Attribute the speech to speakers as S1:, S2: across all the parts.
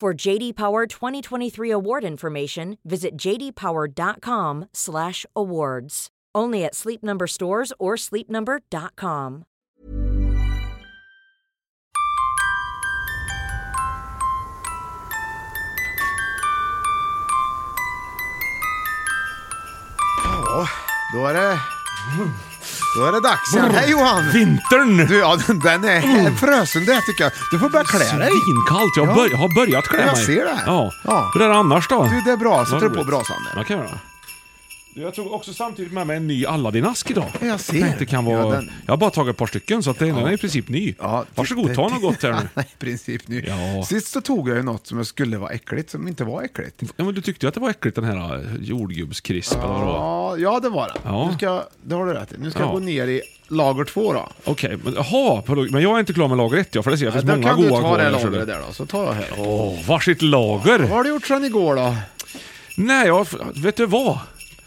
S1: For JD Power 2023 award information, visit jdpower.com/awards. Only at Sleep Number stores or sleepnumber.com.
S2: Ja, då är det... Då är det dags igen. Hej Johan!
S3: Vintern!
S2: Du, ja, den- den är frösande tycker jag. Du får börja klä dig.
S3: Svinkallt. Jag,
S2: Ja.
S3: bör, jag har börjat klä
S2: Jag
S3: mig.
S2: ser det.
S3: Ja.
S2: Ja.
S3: Hur är det annars då?
S2: Du, det är bra. Sätter
S3: Vad
S2: du på
S3: roligt.
S2: brasan där?
S3: Jag kan göra det. Du, Jag tog också samtidigt med mig en ny Aladdin-ask idag.
S2: Ja, jag ser.
S3: tänkte Det kan vara...
S2: Ja, den-
S3: Jag har bara tagit ett par stycken, så att den den är i princip ny.
S2: Ja,
S3: Varsågod,
S2: det-
S3: ta något gott här nu.
S2: Ja, I princip nu.
S3: Ja.
S2: Sist så tog jag ju något som jag skulle vara äckligt, som inte var äckligt.
S3: Ja, men du tyckte ju att det var äckligt den här eh, jordgubbskrisp eller vad det var.
S2: Ja, ja det var det.
S3: Ja.
S2: Nu ska, jag- det har du rätt i. Nu ska
S3: Ja.
S2: jag gå ner i lager två då.
S3: Okej, men jaha, på- men jag är inte klar med lager ett, ja, för det ser jag. Det finns
S2: Då
S3: många
S2: kan du
S3: goa
S2: ta
S3: kvar.
S2: det
S3: här, ser
S2: lagret
S3: du.
S2: där då, så tar jag här.
S3: Åh, varsitt lager!
S2: Vad har du gjort sedan igår då?
S3: Nej, jag... Vet du vad?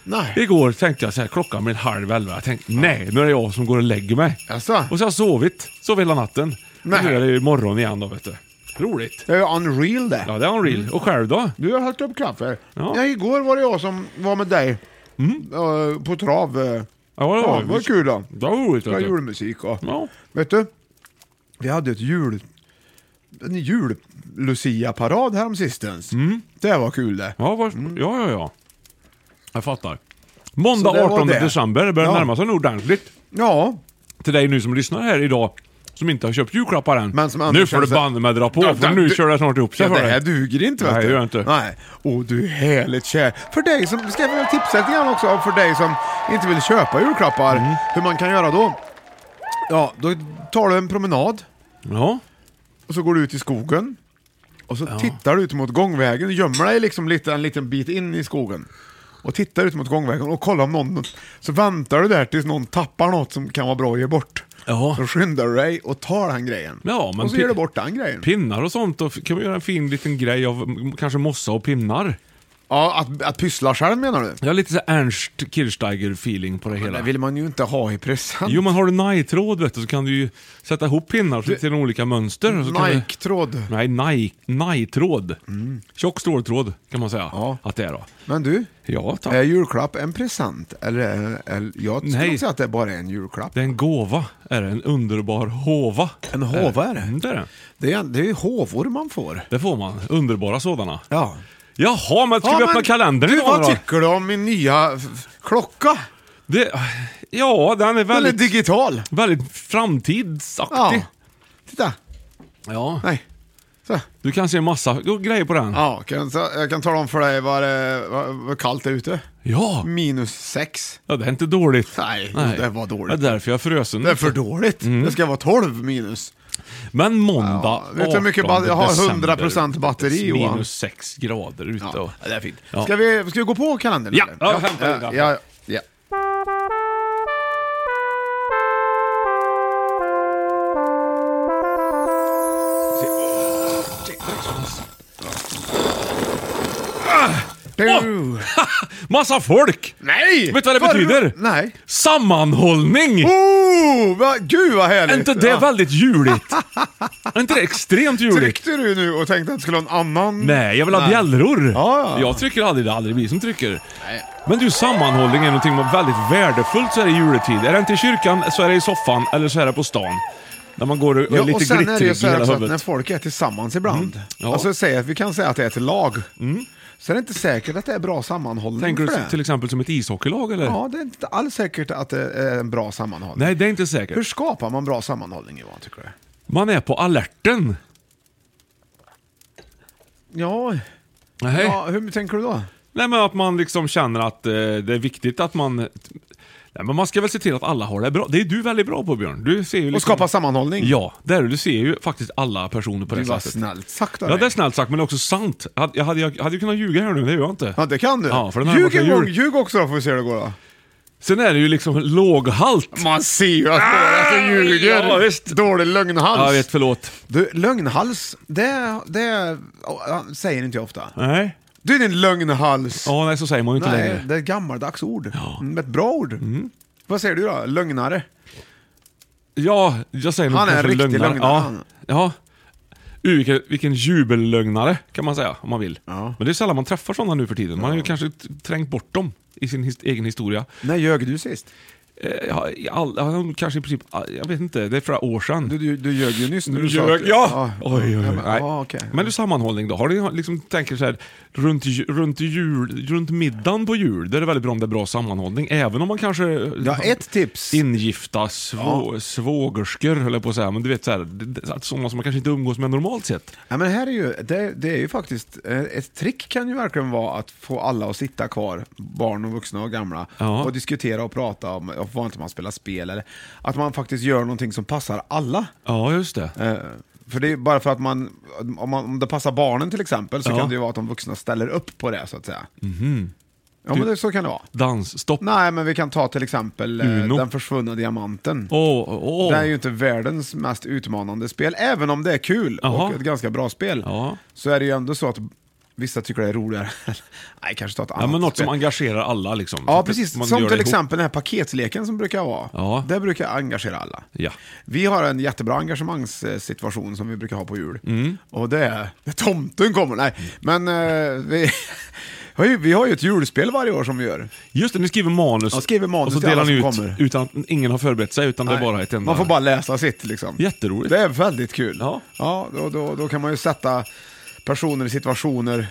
S2: Nej.
S3: Igår tänkte jag så här, klockan blev halv elva. Jag tänkte, nej, nu är det jag som går och lägger mig.
S2: Jaså?
S3: Och så har jag sovit. Sovit hela natten.
S2: Nej.
S3: Och nu är det ju morgon igen då, vet du. Roligt.
S2: Det är ju unreal det.
S3: Ja, det är unreal. Och själv då?
S2: Du har hällt upp kaffe.
S3: Ja. Mm.
S2: Ja. igår var det jag som var med dig eh, på trav. eh.
S3: Ja,
S2: Ja, det var kul då.
S3: Det var roligt.
S2: Bra
S3: Vet du.
S2: julmusik och...
S3: Ja.
S2: Vet du? Vi hade ett jul... En jul-Lucia-parad häromsistens. Det var kul det.
S3: Mm. Ja, var... ja, ja, ja. Jag fattar. Måndag
S2: Mm. Så det var
S3: 18
S2: det.
S3: december. Det börjar
S2: Ja.
S3: närma sig nu ordentligt.
S2: Ja.
S3: Till dig nu som lyssnar här idag. Som inte har köpt julklappar än.
S2: Men som ändå
S3: nu får du
S2: känner sig-
S3: banne mig dra på,
S2: Ja,
S3: för
S2: det-
S3: nu
S2: du-
S3: kör det snart ihop sig
S2: Ja,
S3: för
S2: det här
S3: dig.
S2: duger inte vet
S3: Nej,
S2: du.
S3: det gör inte.
S2: Nej. Och du är härligt kär. För dig som, ska jag väl tipsa lite grann också för dig som inte vill köpa julklappar,
S3: Mm.
S2: hur man kan göra då? Ja, då tar du en promenad
S3: Ja.
S2: och så går du ut i skogen. Och så tittar du ut mot gångvägen, gömmer dig liksom lite, en liten bit in i skogen. Och tittar ut mot gångvägen och kollar om någon... Så väntar du där tills någon tappar något som kan vara bra att ge bort.
S3: Ja.
S2: Då skyndar du dig och tar den grejen.
S3: Ja, men
S2: och så
S3: pi-
S2: ger du bort den grejen.
S3: Pinnar och sånt, då kan vi göra en fin liten grej av mm, kanske mossa och pinnar.
S2: Ja, att, att pyssla själv menar du?
S3: Jag har lite så här Ernst Kirchsteiger-feeling på det
S2: Det
S3: hela.
S2: vill man ju inte ha i present.
S3: Jo, men har du najtråd vet du, så kan du ju sätta ihop pinnar till till olika mönster. och Så kan du...
S2: Nike-tråd.
S3: Nej, naj- najtråd. Tjock stråltråd kan man säga
S2: Mm. Ja. Eh.
S3: att det är då.
S2: Men du,
S3: Ja, tack.
S2: är julklapp en present? Eller, är- eller jag skulle
S3: Nej.
S2: nog säga att det bara är en julklapp.
S3: Det är en gåva, är det. En underbar håva.
S2: En håva är det.
S3: Mm, det är det.
S2: Eh, Det är, det är ju håvor man får.
S3: Det får man. Underbara sådana.
S2: Ja.
S3: Jaha, men ska vi öppna
S2: men
S3: kalendern
S2: du,
S3: idag
S2: Vad
S3: då?
S2: tycker du om min nya f- klocka?
S3: Det... Ja, den är
S2: Den är
S3: väldigt,
S2: digital.
S3: väldigt framtidsaktig.
S2: Ja. Titta.
S3: Ja.
S2: Nej. Så.
S3: Du kan se massa grejer på den.
S2: Ja, kan, så, jag kan tala om för dig vad, det, vad, vad kallt det är ute.
S3: Ja.
S2: Minus sex.
S3: ja, det är inte dåligt.
S2: Nej, det var dåligt.
S3: Det Mm. är därför jag är frusen.
S2: Det är för dåligt. Det ska vara 12 minus.
S3: Men måndag
S2: Ja, vet du hur mycket ba- jag har
S3: 18
S2: 100% batteri,
S3: december,
S2: Johan?
S3: Minus 6 grader ute.
S2: Ja,
S3: och-
S2: det är fint.
S3: Ja.
S2: Ska, vi, ska vi gå på kalendern?
S3: Ja,
S2: eller?
S3: ja, hämta den
S2: ja,
S3: där.
S2: ja, ja. Du.
S3: Massa folk!
S2: Nej!
S3: Vet du vad det
S2: För-
S3: betyder?
S2: Nej.
S3: Sammanhållning!
S2: Oh, vad, gud vad härligt!
S3: är inte det
S2: Ja.
S3: väldigt juligt? är inte det extremt juligt?
S2: Tryckte du nu och tänkte att det skulle ha en annan...
S3: Nej, jag vill ha bjällror.
S2: Ja, ja.
S3: Jag trycker aldrig, det är aldrig vi som trycker.
S2: Nej.
S3: Men du, sammanhållning är någonting väldigt värdefullt så här i juletid. Är det inte i kyrkan så är det i soffan eller så är det på stan. När man går och är
S2: Ja, och
S3: lite
S2: sen är det
S3: glittrig
S2: ju
S3: i
S2: så här
S3: hela
S2: också att när
S3: huvudet. Mm.
S2: folk är tillsammans ibland,
S3: Ja. Mm.
S2: alltså säg att vi kan säga att det är ett lag, så är det inte säkert att det är bra sammanhållning
S3: Tänker
S2: för
S3: du
S2: det.
S3: till exempel som ett ishockeylag eller?
S2: Ja, det är inte alls säkert att det är en bra sammanhållning.
S3: Nej, det är inte säkert.
S2: Hur skapar man bra sammanhållning Johan, tycker du?
S3: Man är på alerten.
S2: Ja,
S3: Nej.
S2: ja hur tänker du då?
S3: Nej, men att man liksom känner att eh, det är viktigt att man... Nej, men man ska väl se till att alla har det bra. Det är du väldigt bra på Björn. Du ser ju liksom...
S2: Och skapa sammanhållning.
S3: Ja, där du ser ju faktiskt alla personer på det
S2: det var
S3: sättet.
S2: snällt sagt av
S3: Ja,
S2: dig.
S3: det är snällt sagt, men det är också sant. Jag hade- Jag hade, jag hade ju kunnat ljuga här nu, men det gör jag inte.
S2: Ja, det kan du.
S3: Ja, för den här
S2: ljug
S3: borta
S2: en gång,
S3: jul-
S2: ljug också då får vi se hur det går då.
S3: Sen är det ju liksom låghalt.
S2: Man ser ju att båda ah, ljuger.
S3: ja, visst.
S2: Dålig lögnhals.
S3: Ja, jag vet, förlåt.
S2: Du, lögnhals, det, det åh, säger inte jag ofta.
S3: Nej.
S2: Du är din lögnhals.
S3: Ja, nej, så säger man ju inte
S2: Nej,
S3: längre.
S2: det är ett gammaldags ord. Mm, ett bra ord. Vad säger du då? Lögnare?
S3: Ja, jag säger nog
S2: Han är en
S3: kanske
S2: riktig lögnare,
S3: Ja.
S2: han.
S3: ja. Uh, vilken, vilken jubellögnare, kan man säga, om man vill.
S2: Ja.
S3: Men det är sällan man träffar sådana nu för tiden. Man har ju kanske t- trängt bort dem i sin his- egen historia.
S2: När ljög du sist?
S3: Eh, ja, i all, ja, kanske i princip, ah, jag vet inte, det är flera år sedan.
S2: Du, du, du ljög ju nyss. när
S3: Nu
S2: sa
S3: ljög
S2: att-
S3: jag!
S2: Ja.
S3: Oj, oj, oj.
S2: Ja, men,
S3: Nej.
S2: ja, okej.
S3: Men du, sammanhållning då? Har du liksom, tänker så här, runt, ju- runt, jul, runt middagen på jul, där är det väldigt bra om det är bra sammanhållning. Även om man kanske...
S2: Ja, ett tips.
S3: Ingifta svå, svågerskor, höll jag på att säga. Men du vet, så här, det- det- att sådana som man kanske inte umgås med normalt sett.
S2: Ja, men här är ju, det, det är ju faktiskt, eh, ett trick kan ju verkligen vara att få alla att sitta kvar, barn och vuxna och gamla,
S3: Ja.
S2: och diskutera och prata om och vad inte man spelar spel eller att man faktiskt gör någonting som passar alla.
S3: Ja, just det.
S2: Eh, För det är bara för att man, om, man, om det passar barnen till exempel, så
S3: Ja. Mhm.
S2: kan det ju vara att de vuxna ställer upp på det så att säga. Ja men det, så kan det vara.
S3: Dansstopp.
S2: Nej men vi kan ta till exempel eh,
S3: Uno.
S2: Den försvunna diamanten.
S3: Åh, åh.
S2: Det är ju inte världens mest utmanande spel, även om det är kul
S3: Jaha.
S2: och ett ganska bra spel.
S3: Ja.
S2: Så är det ju ändå så att vissa tycker det är roligare. Nej, kanske ta ett annat
S3: ja, men något
S2: spel.
S3: som engagerar alla liksom. Så
S2: Ja,
S3: att
S2: precis.
S3: man
S2: Som
S3: gör
S2: till
S3: det ihop.
S2: exempel den här paketleken som brukar vara.
S3: Ja.
S2: Det brukar engagera alla.
S3: Ja.
S2: Vi har en jättebra engagemangssituation som vi brukar ha på jul.
S3: Mm.
S2: Och det är när tomten kommer. Nej, men eh, vi, har ju, vi har ju ett julspel varje år som vi gör.
S3: Just det, ni skriver manus.
S2: Ja, skriver manus
S3: och så
S2: till alla
S3: delar ni ut
S2: som kommer.
S3: utan att ingen har förberett sig, utan det
S2: Nej,
S3: är bara ett enda...
S2: Man får bara läsa sitt liksom.
S3: Jätteroligt.
S2: Det är väldigt kul.
S3: Ja.
S2: ja då, då, då kan man ju sätta personer i situationer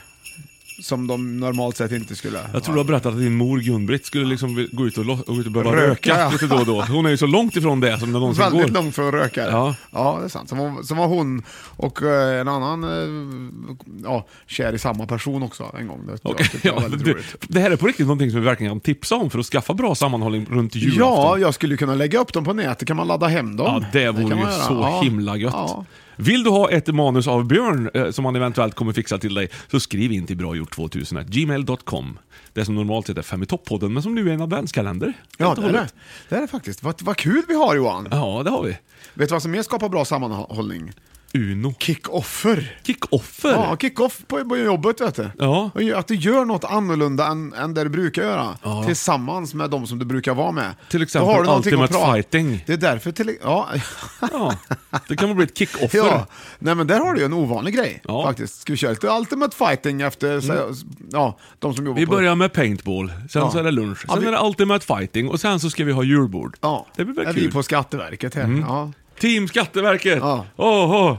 S2: som de normalt sett inte skulle...
S3: Jag tror du har berättat att din mor Gun-Britt skulle liksom vil- gå ut och, lo- och, gå ut och börja
S2: Röka,
S3: röka,
S2: ja.
S3: lite då och då. Hon är ju så långt ifrån det som det någonsin
S2: Väldigt
S3: går.
S2: långt från rökare.
S3: Ja.
S2: ja, det är sant. Som var, som var hon och eh, en annan eh, ja, kär i samma person också en gång. Det
S3: Okej,
S2: tyckte jag
S3: ja,
S2: var väldigt
S3: du,
S2: roligt.
S3: det här är på riktigt någonting som vi verkligen kan tipsa om för att skaffa bra sammanhållning runt julafton.
S2: Ja, jag skulle kunna lägga upp dem på nätet. Kan man ladda hem dem?
S3: Ja, det vore
S2: kan
S3: ju
S2: man göra.
S3: så
S2: Ja.
S3: himla gött.
S2: Ja.
S3: Vill du ha ett manus av Björn eh, som han eventuellt kommer fixa till dig, så skriv in till bragjort2000 gmail.com. Det som normalt sett är Fem i topp-podden, men som nu är en adventskalender.
S2: Ja,
S3: Helt
S2: det
S3: och
S2: är det.
S3: hållet.
S2: det är det faktiskt. Vad, vad kul vi har Johan!
S3: Ja, det har vi.
S2: Vet du vad som mer skapar bra sammanhållning?
S3: Uno.
S2: Kick-offer.
S3: Kick-offer.
S2: Ja, kick-off på, på jobbet vet du.
S3: Ja.
S2: Och Att du gör något annorlunda än, än det du brukar göra. Tillsammans med de som du brukar vara med.
S3: Till exempel
S2: Då har du någonting
S3: Ultimate
S2: att prata-
S3: Fighting.
S2: Det är därför till... Ja.
S3: Ja, det kan väl bli ett kick-offer.
S2: ja. Nej men där har du ju en ovanlig grej
S3: Ja. Mm.
S2: faktiskt. Ska vi köra lite Ultimate Fighting efter så, ja, de som jobbar
S3: Vi
S2: på...
S3: börjar med paintball, sen
S2: Ja.
S3: så är det lunch, sen
S2: Ja, vi-
S3: är det Ultimate Fighting och sen så ska vi ha julbord.
S2: Ja.
S3: Det blir
S2: Är
S3: väl
S2: Vi
S3: kul. Mm.
S2: på Skatteverket här. Ja.
S3: Team Skatteverket!
S2: Ja.
S3: Åhå!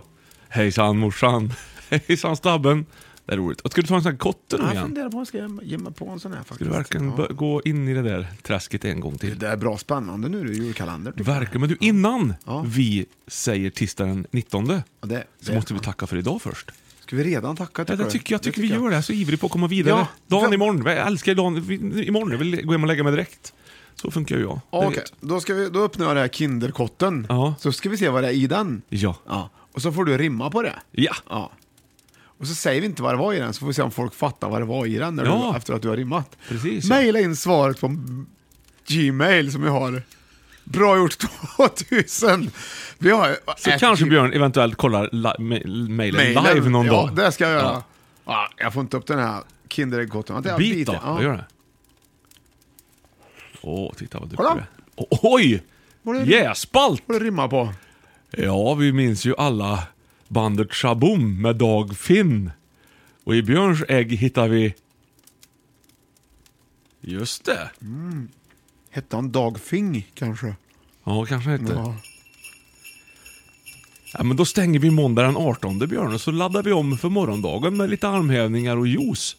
S3: Hejsan morsan, hejsan stabben. Det är roligt. Och ska du ta en sån här kotte nu
S2: Jag
S3: igen?
S2: funderar på om jag ska ge- ge mig på en sån här faktiskt.
S3: Ska du verkligen
S2: ja.
S3: bör- gå in i det där träsket en gång
S2: Det
S3: till?
S2: där är bra spännande nu, det är julkalender. tycker jag.
S3: Verkligen. Men du, innan
S2: Ja.
S3: vi säger tisdagen 19
S2: Ja, det-
S3: så
S2: det-
S3: måste vi tacka för idag först.
S2: Ska vi redan tacka
S3: Ja, det
S2: du?
S3: tycker, jag
S2: Det
S3: tycker vi gör det. Jag är så ivrig på att komma vidare.
S2: Ja.
S3: Dagen
S2: Vem-
S3: imorgon. Jag älskar dagen vi- imorgon. Jag vill gå hem och lägga mig direkt. Så funkar ju jag. Det
S2: Okej,
S3: vet.
S2: då, ska vi, då öppnar jag den här Kinderkotten.
S3: Ja.
S2: Så ska vi se vad det är i den.
S3: Ja.
S2: Ja. Och så får du rimma på det.
S3: Ja.
S2: Ja. Och så säger vi inte vad det var i den, så får vi se om folk fattar vad det var i den när
S3: Ja.
S2: du, efter att du har rimmat.
S3: Precis, ja.
S2: Maila in svaret på Gmail som vi har. Bra gjort 2000! Vi har
S3: Så kanske Björn eventuellt kollar li- ma- mailen live någon
S2: ja,
S3: dag.
S2: det ska jag göra.
S3: Ja.
S2: Ah, jag får inte upp den här Kinderäggkotten. Vänta, jag
S3: Bit
S2: biter.
S3: då,
S2: Ja.
S3: jag gör det. Åh, titta vad duktig du
S2: Kolla.
S3: är. O- Oj!
S2: Var det-
S3: Jäspalt!
S2: Vad du rimma på?
S3: Ja, vi minns ju alla bandet Shaboom med Dag Finn. Och i Björns ägg hittar vi... Just det.
S2: Hette han Dagfing kanske?
S3: Ja, kanske inte. Ja.
S2: Ja.
S3: men då stänger vi måndag den 18 Björn och så laddar vi om för morgondagen med lite armhävningar och juice.